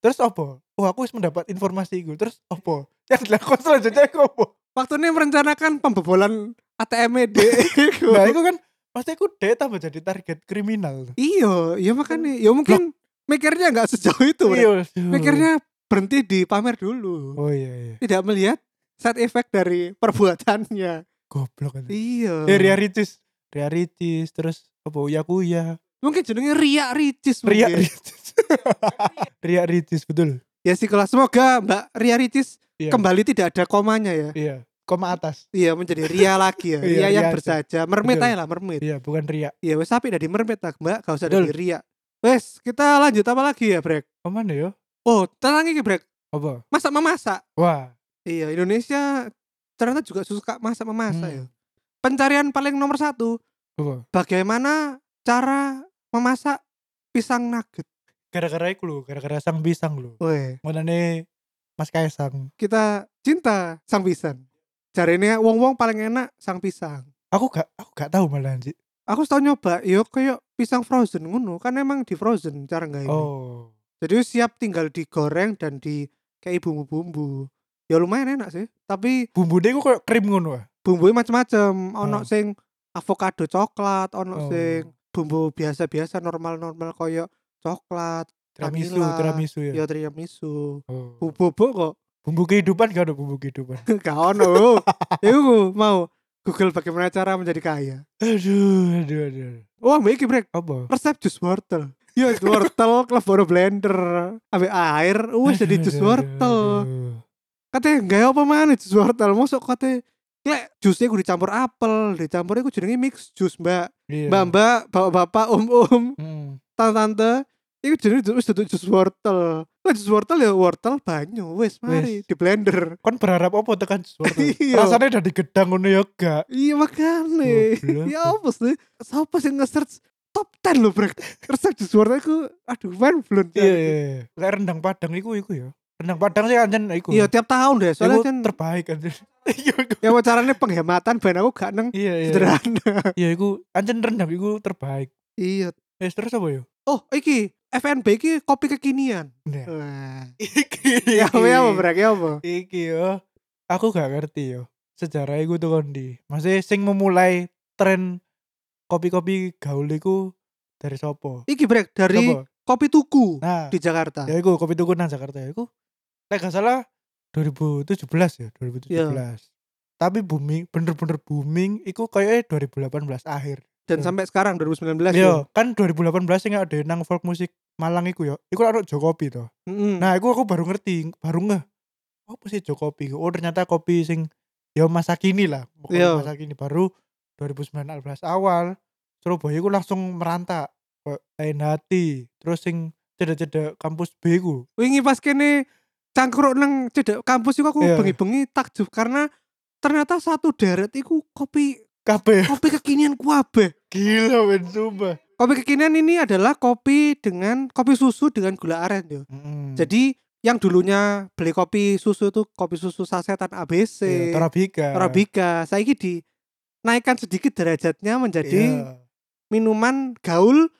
Speaker 2: Terus apa? Oh aku harus mendapat informasi itu. Terus apa? Yang dilakukan selanjutnya aku apa?
Speaker 1: Waktu ini merencanakan pembobolan ATM -e dek. Iku.
Speaker 2: Nah itu kan pasti aku deh tambah jadi target kriminal.
Speaker 1: Iya, iya makanya. Ya mungkin mikirnya nggak sejauh itu. Brek.
Speaker 2: aduh.
Speaker 1: Iya, Mikirnya berhenti di pamer dulu.
Speaker 2: Iya. Oh iya iya.
Speaker 1: Tidak melihat side effect dari perbuatannya.
Speaker 2: Goblok kan.
Speaker 1: Iya.
Speaker 2: Eh Ria Ricis. Ria Ricis. Terus apa? Uya Kuya.
Speaker 1: Mungkin jenenge riak ricis
Speaker 2: Ria
Speaker 1: mungkin.
Speaker 2: Ricis. Ria Ricis betul.
Speaker 1: Ya sih kalau semoga Mbak Ria Ricis
Speaker 2: Iya.
Speaker 1: kembali tidak ada komanya ya.
Speaker 2: Iya. Koma atas.
Speaker 1: Iya menjadi Ria lagi ya.
Speaker 2: Iya,
Speaker 1: Ria yang
Speaker 2: Ria aja.
Speaker 1: bersaja, mermaid
Speaker 2: Betul.
Speaker 1: aja lah mermaid.
Speaker 2: Iya bukan Ria.
Speaker 1: Iya wes tapi dari mermaid lah Mbak, gak usah
Speaker 2: Betul.
Speaker 1: dari Ria. Wes, kita lanjut apa lagi ya, Brek?
Speaker 2: Kemana ya?
Speaker 1: Oh, tenang iki, Brek.
Speaker 2: Apa?
Speaker 1: Masak memasak.
Speaker 2: Wah.
Speaker 1: Iya, Indonesia ternyata juga suka masak memasak
Speaker 2: Hmm.
Speaker 1: ya. Pencarian paling nomor satu,
Speaker 2: Apa?
Speaker 1: bagaimana cara memasak pisang nugget.
Speaker 2: Gara-gara itu loh. Gara-gara sang pisang loh.
Speaker 1: Weh.
Speaker 2: Mengenai Mas Kaisang.
Speaker 1: kita cinta sang pisang. Jarene wong-wong paling enak sang pisang.
Speaker 2: Aku gak, aku gak tahu malah sih.
Speaker 1: Aku setahun nyoba, yo kayak pisang frozen ngono, kan emang di frozen cara nggak ini.
Speaker 2: Oh.
Speaker 1: Jadi siap tinggal digoreng dan di kayak bumbu-bumbu. Ya lumayan enak sih, tapi
Speaker 2: bumbu deh kok krim ngono ah.
Speaker 1: bumbunya macam-macam. Ono
Speaker 2: Oh.
Speaker 1: sing avocado coklat, ono
Speaker 2: Oh.
Speaker 1: sing bumbu biasa-biasa normal-normal koyo coklat,
Speaker 2: tiramisu,
Speaker 1: Vanilla.
Speaker 2: tiramisu ya.
Speaker 1: ya tiramisu,
Speaker 2: Oh.
Speaker 1: bubuk kok
Speaker 2: Bumbu kehidupan gak ada bumbu kehidupan.
Speaker 1: gak ono. Iku mau Google bagaimana cara menjadi kaya.
Speaker 2: Aduh, aduh, aduh.
Speaker 1: Wah, mbak iki brek
Speaker 2: Apa?
Speaker 1: resep jus wortel. Ya jus wortel kleboro blender, ambek air wis jadi
Speaker 2: Aduh,
Speaker 1: jus
Speaker 2: aduh,
Speaker 1: wortel.
Speaker 2: aduh.
Speaker 1: Katanya gak apa mana jus wortel, mosok kate lek jusnya gue dicampur apel, dicampur iku jenenge mix jus, Mbak.
Speaker 2: Iya.
Speaker 1: Mbak-mbak, bapak-bapak, om-om,
Speaker 2: Hmm.
Speaker 1: tante-tante iku jenenge jus- wis duduk jus wortel. Lah jus wortel ya wortel banyu wis mari
Speaker 2: Wis.
Speaker 1: di blender.
Speaker 2: Kon Kan berharap apa tekan suara?
Speaker 1: Iya.
Speaker 2: Rasanya udah digedang ngono ya gak?
Speaker 1: Iya makane.
Speaker 2: Goblok.
Speaker 1: ya apa sih? Siapa sih nge-search top 10 loh brek. Resep jus wortel iku aduh main belum.
Speaker 2: Iya, iya. iya. Lek rendang Padang iku iku ya. Rendang Padang sih anjen iku.
Speaker 1: Iya tiap tahun deh soalnya
Speaker 2: soalnya
Speaker 1: kan
Speaker 2: terbaik anjen. Iya, iku.
Speaker 1: ya mau caranya penghematan ben aku gak neng
Speaker 2: Iya, iya.
Speaker 1: sederhana.
Speaker 2: Iya, iku anjen rendang iku terbaik.
Speaker 1: Iya.
Speaker 2: Eh, terus apa ya?
Speaker 1: Oh, iki FNB iki kopi kekinian.
Speaker 2: Nah.
Speaker 1: Wah.
Speaker 2: Iki.
Speaker 1: Iya. Ya apa ya apa brek ya apa?
Speaker 2: Iki yo. Aku gak ngerti yo. Sejarah iku tuh kondi. Masih sing memulai tren kopi-kopi gaul iku dari sopo?
Speaker 1: Iki brek dari
Speaker 2: Sopo?
Speaker 1: kopi tuku
Speaker 2: Nah,
Speaker 1: di Jakarta.
Speaker 2: ya iku kopi tukunan Jakarta ya iku. Lek gak salah 2017 ya, 2017. Tapi booming, bener-bener booming iku kayaknya 2018 akhir.
Speaker 1: Dan sampai sekarang 2019. ya.
Speaker 2: Yo, kan 2018 sing ada nang folk musik Malang iku yo. Iku ono Jokopi to.
Speaker 1: Mm-mm.
Speaker 2: Nah, aku aku baru ngerti, baru ngeh. Apa sih Jo kopi? Oh, ternyata kopi sing ya masa kini lah.
Speaker 1: Iya.
Speaker 2: Pokoknya masa kini baru 2019 awal. Surabaya aku langsung merantak Kayak lain hati. Terus sing cedek-cedek kampus B ku.
Speaker 1: wingi pas kene cangkruk nang cedek kampus iku aku
Speaker 2: Iya.
Speaker 1: bengi-bengi takjub karena ternyata satu deret iku kopi
Speaker 2: Kabeh
Speaker 1: kopi kekinian kuabe.
Speaker 2: gila men sumpah.
Speaker 1: Kopi kekinian ini adalah kopi dengan kopi susu dengan gula aren yo.
Speaker 2: Jadi
Speaker 1: Jadi yang dulunya beli kopi susu itu kopi susu sasetan ABC,
Speaker 2: iya, Torabika.
Speaker 1: Arabica, saiki di naikkan sedikit derajatnya menjadi
Speaker 2: Iya.
Speaker 1: minuman gaul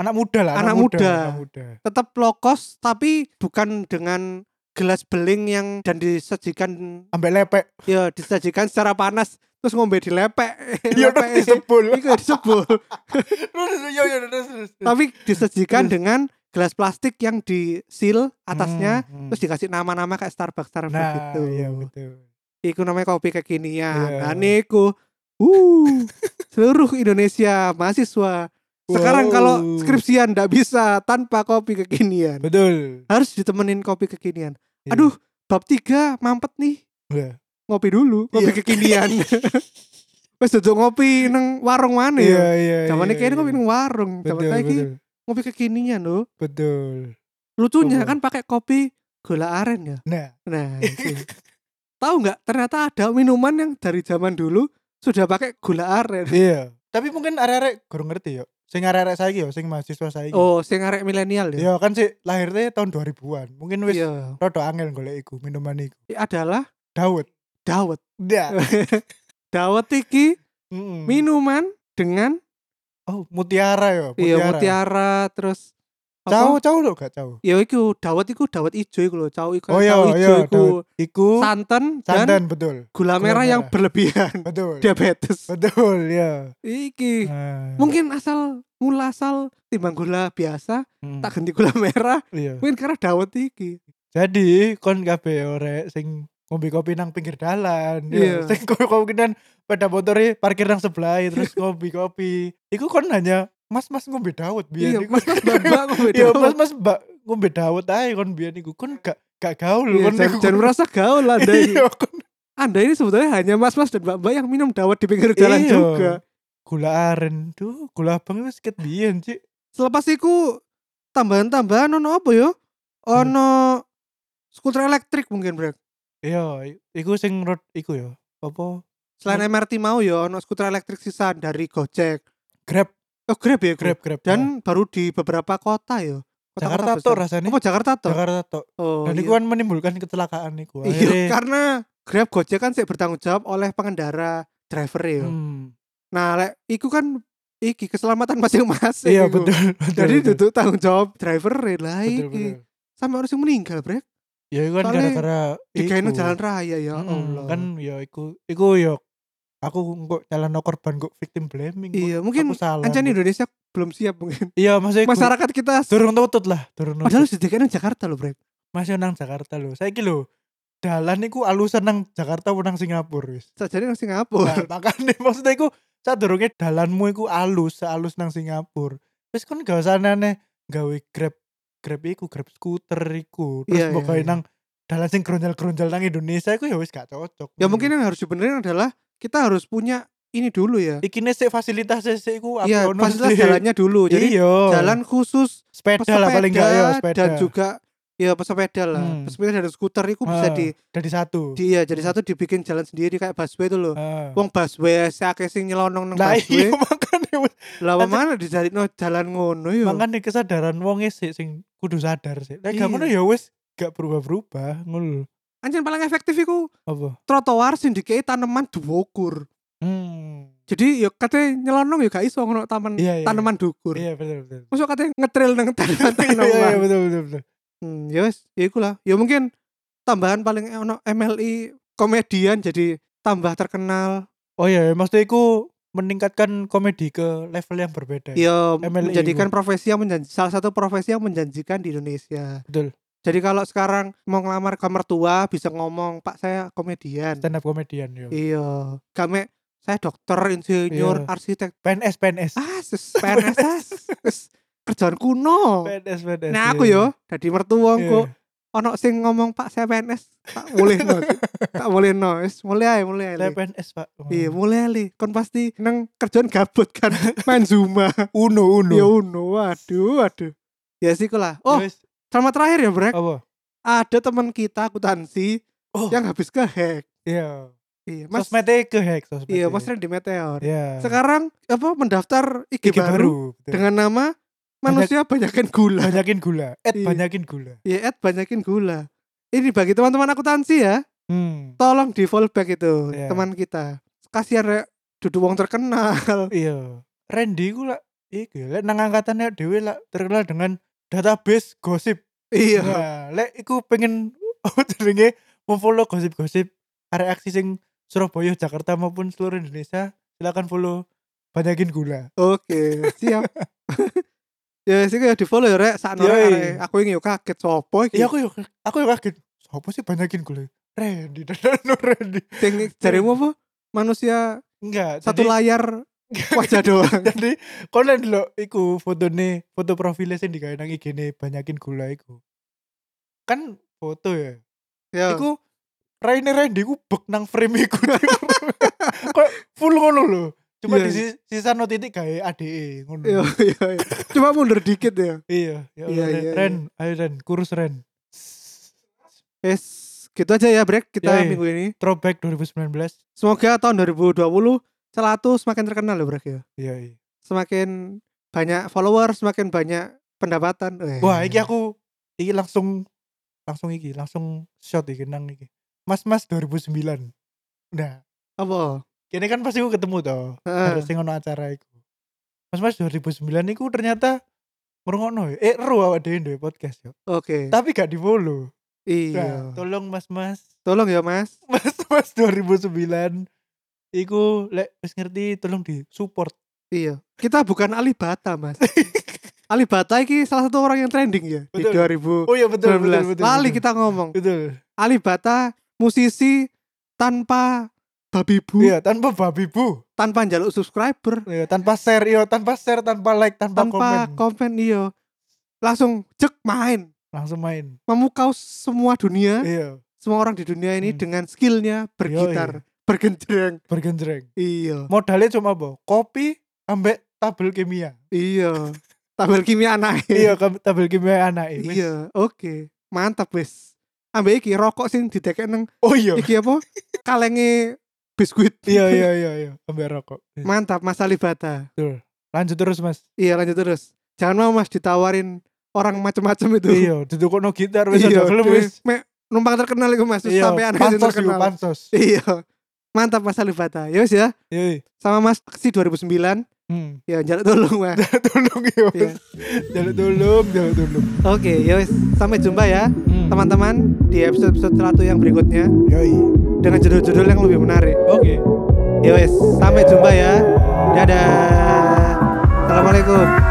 Speaker 2: anak muda lah,
Speaker 1: Anak muda.
Speaker 2: anak muda.
Speaker 1: tetap low cost tapi bukan dengan gelas beling yang dan disajikan
Speaker 2: Ambek lepek.
Speaker 1: ya disajikan secara panas terus ngombe dilepek
Speaker 2: Iya, terus
Speaker 1: lepek.
Speaker 2: disebul.
Speaker 1: Iku disebul.
Speaker 2: Terus yo yo terus terus. terus.
Speaker 1: tapi disajikan
Speaker 2: Iya.
Speaker 1: dengan gelas plastik yang disil atasnya
Speaker 2: Hmm, hmm.
Speaker 1: terus dikasih nama-nama kayak Starbucks Starbucks
Speaker 2: nah,
Speaker 1: gitu
Speaker 2: iya betul.
Speaker 1: iku namanya kopi kekinian nah
Speaker 2: Iya.
Speaker 1: niku uh seluruh Indonesia mahasiswa sekarang
Speaker 2: Wow.
Speaker 1: kalau skripsian ndak bisa tanpa kopi kekinian
Speaker 2: Betul.
Speaker 1: harus ditemenin kopi kekinian
Speaker 2: Iya.
Speaker 1: aduh bab 3 mampet nih
Speaker 2: Iya.
Speaker 1: ngopi dulu kopi
Speaker 2: Iya.
Speaker 1: kekinian wes duduk ngopi nang warung mana
Speaker 2: Iya
Speaker 1: ya
Speaker 2: iya.
Speaker 1: zaman
Speaker 2: iya,
Speaker 1: ini kayaknya
Speaker 2: iya.
Speaker 1: ngopi nang warung zaman
Speaker 2: betul,
Speaker 1: saiki
Speaker 2: betul,
Speaker 1: ngopi kekinian loh
Speaker 2: betul.
Speaker 1: lucunya
Speaker 2: Betul.
Speaker 1: kan pakai kopi gula aren ya
Speaker 2: Nah,
Speaker 1: Nah, itu. tahu nggak? Ternyata ada minuman yang dari zaman dulu sudah pakai gula aren.
Speaker 2: iya. Tapi mungkin arek-arek kurang ngerti yo. Sing arek-arek saiki yo, sing mahasiswa saiki.
Speaker 1: Oh, sing arek milenial ya.
Speaker 2: Yo kan sih lahirnya tahun 2000-an. Mungkin wis
Speaker 1: Iya.
Speaker 2: rada angel golek iku minuman iku.
Speaker 1: Adalah
Speaker 2: Dawet.
Speaker 1: dawet. Iya.
Speaker 2: Nah.
Speaker 1: dawet iki
Speaker 2: Hmm. Mm-mm.
Speaker 1: minuman dengan
Speaker 2: oh, mutiara yo,
Speaker 1: iya mutiara terus
Speaker 2: Cau
Speaker 1: apa?
Speaker 2: cau lo gak cau.
Speaker 1: Ya iku dawet iku dawet ijo iku lho, cau iku.
Speaker 2: Oh, iya,
Speaker 1: cau
Speaker 2: iya,
Speaker 1: ijo iku
Speaker 2: Iku
Speaker 1: santen dan
Speaker 2: santan betul.
Speaker 1: gula merah yang
Speaker 2: merah.
Speaker 1: berlebihan.
Speaker 2: Betul.
Speaker 1: Diabetes.
Speaker 2: Betul ya.
Speaker 1: Iki
Speaker 2: Nah.
Speaker 1: mungkin asal mula asal timbang gula biasa
Speaker 2: Mm.
Speaker 1: tak ganti gula merah
Speaker 2: Iya.
Speaker 1: mungkin karena dawet iki
Speaker 2: Jadi kon kabeh orek sing ngombe kopi nang pinggir dalan,
Speaker 1: Iya.
Speaker 2: ya. sing kowe kemungkinan pada motornya ya, parkir nang sebelah terus ngombe kopi. Iku kon hanya mas-mas ngombe dawet
Speaker 1: Iya,
Speaker 2: biyen iku.
Speaker 1: mas mas babak kok beda.
Speaker 2: Iya, mas-mas mbak ngombe dawet ae kon biyen iku kon gak gak gaul
Speaker 1: Iya,
Speaker 2: kon
Speaker 1: jangan,
Speaker 2: iku.
Speaker 1: jangan merasa gaul Anda ini.
Speaker 2: Iya, kon.
Speaker 1: Anda ini sebetulnya hanya mas-mas dan mbak-mbak yang minum dawet di pinggir jalan
Speaker 2: Iya.
Speaker 1: juga.
Speaker 2: Gula aren, duh, gula abang wis ket biyen, Cik.
Speaker 1: Selepas itu tambahan-tambahan ono apa yo?
Speaker 2: Hmm.
Speaker 1: Ono skuter elektrik mungkin, Brek.
Speaker 2: Iya, i- iku sing road iku ya. Apa? Hmm.
Speaker 1: Selain MRT mau yo ono skuter elektrik sisa dari Gojek.
Speaker 2: Grab,
Speaker 1: Oh, Grab ya, Grab.
Speaker 2: Grab, Grab.
Speaker 1: Dan baru di beberapa kota yo.
Speaker 2: Nah, Jakarta tok rasane.
Speaker 1: Apa Jakarta tok?
Speaker 2: Jakarta tok.
Speaker 1: Oh.
Speaker 2: Dan
Speaker 1: iya.
Speaker 2: iku kan menimbulkan kecelakaan iku.
Speaker 1: Iya,
Speaker 2: Akhirnya-
Speaker 1: karena Grab Gojek kan sih bertanggung jawab oleh pengendara driver ya. yo.
Speaker 2: Hmm.
Speaker 1: Nah, lek iku kan iki keselamatan masing-masing.
Speaker 2: Iya
Speaker 1: iku.
Speaker 2: betul. betul
Speaker 1: Jadi
Speaker 2: betul,
Speaker 1: duduk tanggung jawab driver e lah
Speaker 2: betul,
Speaker 1: iki.
Speaker 2: betul.
Speaker 1: Sampai orang yang meninggal, Brek.
Speaker 2: Ya itu kan
Speaker 1: Soalnya
Speaker 2: gara-gara
Speaker 1: Digawe nang
Speaker 2: iku. kan
Speaker 1: jalan raya ya
Speaker 2: Mm-mm,
Speaker 1: Allah.
Speaker 2: Kan ya iku iku yo aku kok nyalano korban kok victim blaming kok
Speaker 1: Iya, mungkin
Speaker 2: aku anu. salah
Speaker 1: Ancan
Speaker 2: kok.
Speaker 1: Indonesia belum siap mungkin.
Speaker 2: iya maksudnya masyarakat
Speaker 1: Masyarakat kita
Speaker 2: durung tutut lah durung
Speaker 1: padahal
Speaker 2: tutut
Speaker 1: sudah kan Jakarta loh, Brek.
Speaker 2: masih nang Jakarta lho saiki lho dalan niku alusan nang Jakarta apa nang Singapura wis
Speaker 1: Sajane nang
Speaker 2: nah,
Speaker 1: Singapura.
Speaker 2: makane maksudnya iku sadurunge dalanmu iku alus alus nang Singapura wis kon gak usah aneh gawe grab grab iku grab skuter iku terus
Speaker 1: Iya, iya,
Speaker 2: pokoknya
Speaker 1: iya.
Speaker 2: nang dalan sing gronjal-gronjal nang Indonesia iku ya wis gak cocok
Speaker 1: Ya mungkin yang harus dibenerin adalah kita harus punya ini dulu ya.
Speaker 2: iki sih fasilitasnya sih iku
Speaker 1: Iya,
Speaker 2: apa ono
Speaker 1: fasilitas
Speaker 2: sih?
Speaker 1: jalannya dulu. Jadi
Speaker 2: Iya.
Speaker 1: jalan khusus
Speaker 2: sepeda lah paling gak ya sepeda
Speaker 1: dan juga ya pesepeda lah.
Speaker 2: Hmm.
Speaker 1: Pesepeda dan skuter itu bisa
Speaker 2: Ah,
Speaker 1: di,
Speaker 2: dari satu
Speaker 1: di ya, jadi satu dibikin jalan sendiri kayak busway itu loh.
Speaker 2: Ah.
Speaker 1: Wong busway akeh sing nyelonong nang
Speaker 2: nah iya
Speaker 1: busway.
Speaker 2: makanya wis
Speaker 1: Lah
Speaker 2: Tapi-
Speaker 1: mana dijalino jalan ngono iya. yo.
Speaker 2: makanya kesadaran wonge sih sing kudu sadar sih lek gak
Speaker 1: Iya.
Speaker 2: ngono ya wis gak berubah-berubah ngono lho.
Speaker 1: Anjir paling efektif iku
Speaker 2: apa
Speaker 1: trotoar sing dikei tanaman dukur.
Speaker 2: hmm
Speaker 1: Jadi yo katanya nyelonong yo gak iso ngono taman
Speaker 2: Iya, iya,
Speaker 1: tanaman dukur.
Speaker 2: iya betul betul
Speaker 1: Masuk katanya ngetril nang tanaman.
Speaker 2: Iya, iya,
Speaker 1: tanaman.
Speaker 2: betul betul betul
Speaker 1: Hmm, ya wes, ya ikulah. Ya mungkin tambahan paling ono MLI komedian jadi tambah terkenal.
Speaker 2: oh iya ya, maksudnya iku meningkatkan komedi ke level yang berbeda ya.
Speaker 1: Ya
Speaker 2: MLI
Speaker 1: menjadikan profesi yang menjanji, salah satu profesi yang menjanjikan di Indonesia.
Speaker 2: betul
Speaker 1: Jadi kalau sekarang mau ngelamar ke mertua bisa ngomong, "Pak, saya komedian."
Speaker 2: stand up komedian yo
Speaker 1: Iya, kami saya dokter, insinyur,
Speaker 2: Iya.
Speaker 1: arsitek.
Speaker 2: PNS PNS
Speaker 1: Ah, sus, PNS. ah, sus, kerjaan kuno.
Speaker 2: PNS PNS
Speaker 1: Nah, aku yo
Speaker 2: iya.
Speaker 1: dadi mertua
Speaker 2: Iya.
Speaker 1: engko ono sing ngomong Pak saya PNS. Tak boleh no. tak boleh no. Wis mulai ae, mulai ae,
Speaker 2: saya
Speaker 1: Li.
Speaker 2: PNS pak Hmm.
Speaker 1: Iya, mulai li. Kon pasti nang kerjaan gabut kan main Zuma.
Speaker 2: uno uno
Speaker 1: ya uno, waduh, waduh. Ya sih lah. Oh,
Speaker 2: Wis,
Speaker 1: sama terakhir ya, Brek.
Speaker 2: apa
Speaker 1: Ada teman kita akuntansi
Speaker 2: Oh.
Speaker 1: yang habis ke hack.
Speaker 2: iya
Speaker 1: Iya, Mas.
Speaker 2: sosmednya ke hack sosmed e. ya?
Speaker 1: Iya, Mas Randy Meteor.
Speaker 2: iya
Speaker 1: Sekarang apa mendaftar IG,
Speaker 2: Gigi
Speaker 1: baru,
Speaker 2: betul.
Speaker 1: dengan nama manusia banyakin gula.
Speaker 2: banyakin gula eh
Speaker 1: Iya.
Speaker 2: banyakin gula
Speaker 1: Ya, Ed banyakin gula. Ini bagi teman-teman akuntansi ya,
Speaker 2: hmm
Speaker 1: tolong di fallback itu
Speaker 2: Iya.
Speaker 1: teman kita. Kasihan rek duduk wong terkenal.
Speaker 2: iya Randy ku lah iki lek nang angkatannya dhewe lah terkenal dengan database gosip
Speaker 1: iya.
Speaker 2: nah, lek iku pengen apa jenenge memfollow gosip-gosip arek aksi sing Surabaya Jakarta maupun seluruh Indonesia silakan follow banyakin gula
Speaker 1: Oke, siap. ya sih ya di follow ya rek sakno
Speaker 2: Yoi.
Speaker 1: rek, arek. aku ini yo kaget sopo iki
Speaker 2: iya aku yo aku yo kaget siapa sih banyakin gula Randy dan Randy
Speaker 1: sing jarimu apa manusia
Speaker 2: enggak
Speaker 1: satu
Speaker 2: jadi-
Speaker 1: layar wajah doang
Speaker 2: jadi kau lihat lo iku foto nih foto profilnya sih digawe nang IG nih banyakin gula iku kan foto ya
Speaker 1: ya
Speaker 2: iku Raine Randy ku bek nang frame iku kok full ngono lho cuma
Speaker 1: Iya,
Speaker 2: di sis- sisa no titik gawe ADE ngono
Speaker 1: Iya, iya, iya. cuma mundur dikit ya
Speaker 2: iya ya Allah,
Speaker 1: Iya,
Speaker 2: Ren,
Speaker 1: iya,
Speaker 2: Ren ayo Ren kurus Ren
Speaker 1: yes gitu aja ya break kita
Speaker 2: Yoi.
Speaker 1: minggu ini
Speaker 2: throwback 2019
Speaker 1: semoga tahun 2020 celatu semakin terkenal ya break ya
Speaker 2: iya iya
Speaker 1: semakin banyak follower semakin banyak pendapatan Eh.
Speaker 2: wah iki aku iki langsung langsung iki langsung shot iki nang iki Mas Mas 2009 nah
Speaker 1: apa Eh,
Speaker 2: Kini kan pasti gue ketemu toh.
Speaker 1: Heeh.
Speaker 2: Harus sing ono acara iku. Mas Mas 2009 iku ternyata ngrungokno ya. eh ero awak dhewe nduwe podcast yo.
Speaker 1: oke
Speaker 2: Tapi gak di-follow. Nah,
Speaker 1: iya
Speaker 2: tolong Mas Mas.
Speaker 1: tolong ya mas
Speaker 2: Mas Mas 2009 iku lek wis ngerti tolong di support.
Speaker 1: Iya, kita bukan Alibata, Mas. Alibata iki salah satu orang yang trending ya
Speaker 2: Betul.
Speaker 1: di 2019.
Speaker 2: Oh iya betul betul betul.
Speaker 1: Lali
Speaker 2: betul.
Speaker 1: kita ngomong.
Speaker 2: betul.
Speaker 1: Alibata musisi tanpa babi bu,
Speaker 2: Iya, tanpa babi bu.
Speaker 1: tanpa jaluk subscriber,
Speaker 2: Iya, tanpa share, iya, tanpa share, tanpa like, tanpa,
Speaker 1: tanpa
Speaker 2: komen.
Speaker 1: komen, iyo. Langsung cek main,
Speaker 2: Langsung main.
Speaker 1: memukau semua dunia,
Speaker 2: Iya,
Speaker 1: semua orang di dunia ini
Speaker 2: Hmm.
Speaker 1: dengan skillnya bergitar, bergenjreng.
Speaker 2: bergenjreng.
Speaker 1: Iya,
Speaker 2: Modalnya cuma apa? Kopi ambek tabel kimia.
Speaker 1: iya. Tabel kimia anak.
Speaker 2: iya kab- tabel kimia anak iya
Speaker 1: Iya, oke. Mantap wis. Ambek iki rokok sing didekek nang
Speaker 2: oh iya
Speaker 1: iki apa kalenge biskuit
Speaker 2: iya iya iya iya ambil rokok
Speaker 1: mantap mas Alibata
Speaker 2: betul lanjut terus mas
Speaker 1: iya lanjut terus jangan mau mas ditawarin orang macam-macam itu
Speaker 2: iya duduk no gitar wis
Speaker 1: Iya,
Speaker 2: ada film
Speaker 1: duwe-
Speaker 2: wis
Speaker 1: me- numpang terkenal itu mas
Speaker 2: iya
Speaker 1: sampai anak itu
Speaker 2: pansos yuk
Speaker 1: terkenal
Speaker 2: pansos
Speaker 1: iya mantap mas Alibata Yos ya
Speaker 2: iya
Speaker 1: sama mas aksi 2009
Speaker 2: hmm.
Speaker 1: ya jalan tolong mas
Speaker 2: tolong iya
Speaker 1: Iya.
Speaker 2: mas jalur tolong jalur tolong
Speaker 1: oke yos sampai jumpa ya
Speaker 2: hmm.
Speaker 1: teman-teman di episode episode 100 yang berikutnya
Speaker 2: yoi
Speaker 1: dengan judul-judul yang lebih menarik
Speaker 2: oke
Speaker 1: Ya wes, sampai jumpa ya. Dadah. Assalamualaikum.